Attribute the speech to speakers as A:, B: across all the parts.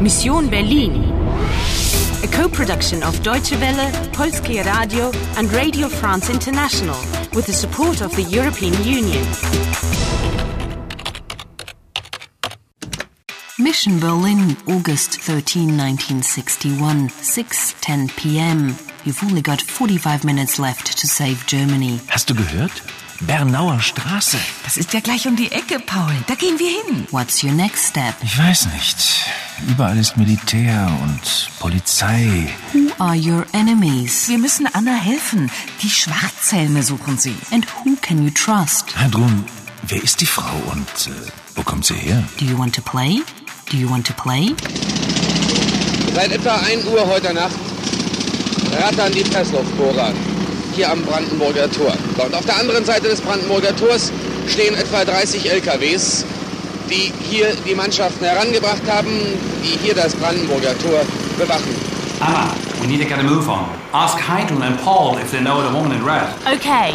A: Mission Berlin. A co-production of Deutsche Welle, Polskie Radio and Radio France International with the support of the European Union.
B: Mission Berlin, August 13, 1961, 6:10 p.m. You've only got 45 minutes left to save Germany.
C: Hast du gehört? Bernauer Straße.
D: Das ist ja gleich um die Ecke, Paul. Da gehen wir hin.
B: What's your next step?
C: Ich weiß nicht. Überall ist Militär und Polizei.
B: Who are your enemies?
D: Wir müssen Anna helfen. Die Schwarzhelme suchen sie.
B: And who can you trust?
C: Hadrun, wer ist die Frau und äh, wo kommt sie her?
B: Do you want to play? Do you want to play?
E: Seit etwa 1 Uhr heute Nacht rattern die Pressluftbohrer hier am Brandenburger Tor. So, Und auf der anderen Seite des Brandenburger Tors stehen etwa 30 LKWs, die hier die Mannschaften herangebracht haben, die hier das Brandenburger Tor bewachen.
F: Ah, we need to get a move on. Ask Heidel and Paul if they know the woman in red.
A: Okay.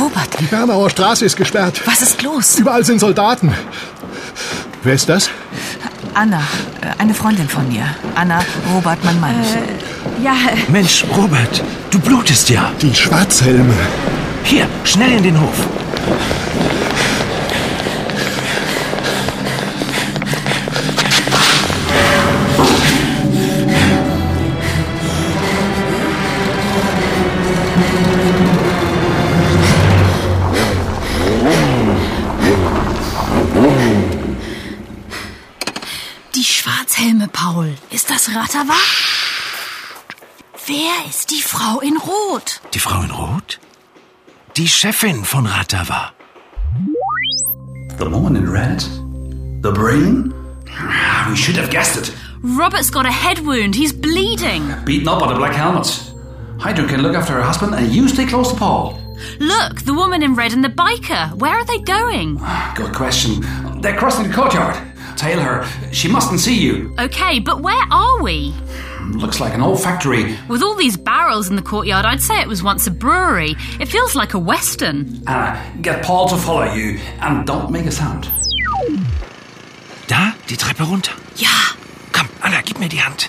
D: Robert,
G: Die Bernauer Straße ist gesperrt.
D: was ist los?
G: Überall sind Soldaten. Wer ist das?
D: Anna, äh, eine Freundin von mir. Anna, Robert, mein Mann.
H: Äh, Ja,
C: Mensch, Robert, du blutest ja.
G: Die Schwarzhelme.
C: Hier, schnell in den Hof.
H: die Schwarzhelme, Paul. Ist das Ratterwach? Wer ist die Frau in Rot?
C: Die Frau in Rot? Die Chefin von Ratava.
F: The woman in red? The brain? Ah, We should have guessed it.
H: Robert's got a head wound. He's bleeding.
F: Beaten up by the black helmets. Heidel can look after her husband and you stay close to Paul.
H: Look, the woman in red and the biker. Where are they going?
F: Good question. They're crossing the courtyard. Tail her. She mustn't see you.
H: Okay, but where are we?
F: Looks like an old factory
H: With all these barrels in the courtyard, I'd say it was once a brewery. It feels like a western.
F: Anna, Ah, get Paul to follow you and don't make a sound.
C: Da, die Treppe runter.
H: Ja.
C: Komm, Anna, gib mir die Hand.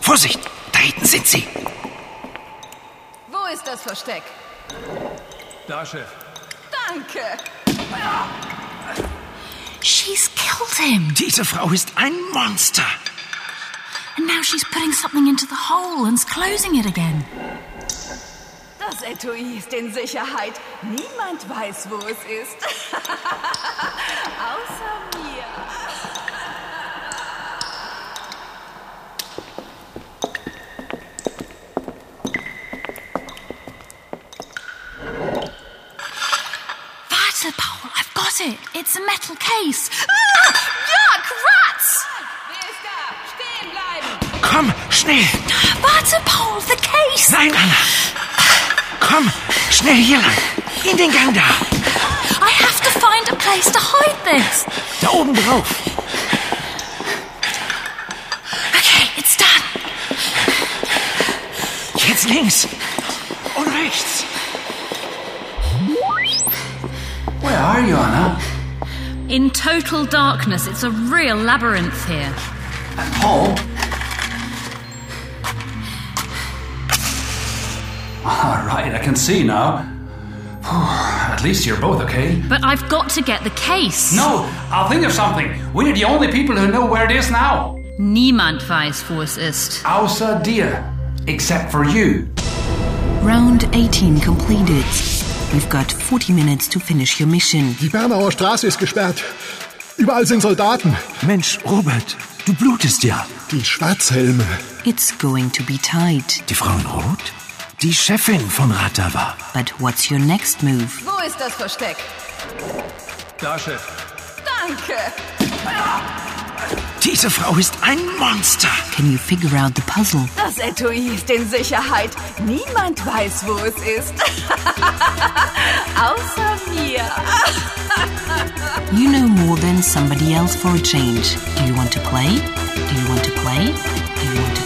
C: Vorsicht, da hinten sind sie.
I: Wo ist das Versteck?
F: Da, Chef.
I: Danke.
H: She's killed him.
C: Diese Frau ist ein Monster.
H: And now she's putting something into the hole and's closing it again.
I: Das Etui ist in Sicherheit. Niemand weiß, wo es ist. Außer mir.
H: Warte, Paul, I've got it. It's a metal case. Ah, yuck, rats!
I: Wer ist da? Stehen bleiben!
C: Komm, schnell.
H: Warte, Paul, the case!
C: Nein, Anna. Komm, schnell hier lang. In den Gang da.
H: I have to find a place to hide this.
C: Da oben drauf.
H: Okay, it's done.
C: Jetzt links. Und rechts.
F: Where are you, Anna?
H: In total darkness, it's a real labyrinth here.
F: And Paul? All Ah, right, I can see now. Phew, At least you're both okay.
H: But I've got to get the case.
F: No, I'll think of something. We're the only people who know where it is now.
H: Niemand weiß, wo es ist.
F: Außer dir. Except for you.
B: Round 18 completed. You've got 40 minutes to finish your mission.
G: Die Bernauer Straße ist gesperrt. Überall sind Soldaten.
C: Mensch, Robert, du blutest ja.
G: Die Schwarzhelme.
B: It's going to be tight.
C: Die Frau in Rot? Die Chefin von Ratava.
B: But what's your next move?
I: Wo ist das Versteck?
F: Da, Chef.
I: Danke.
C: Diese Frau ist ein Monster.
B: Can you figure out the puzzle?
I: Das Etui ist in Sicherheit. Niemand weiß, wo es ist. Außer mir.
B: You know more than somebody else for a change. Do you want to play? Do you want to play? Do you want to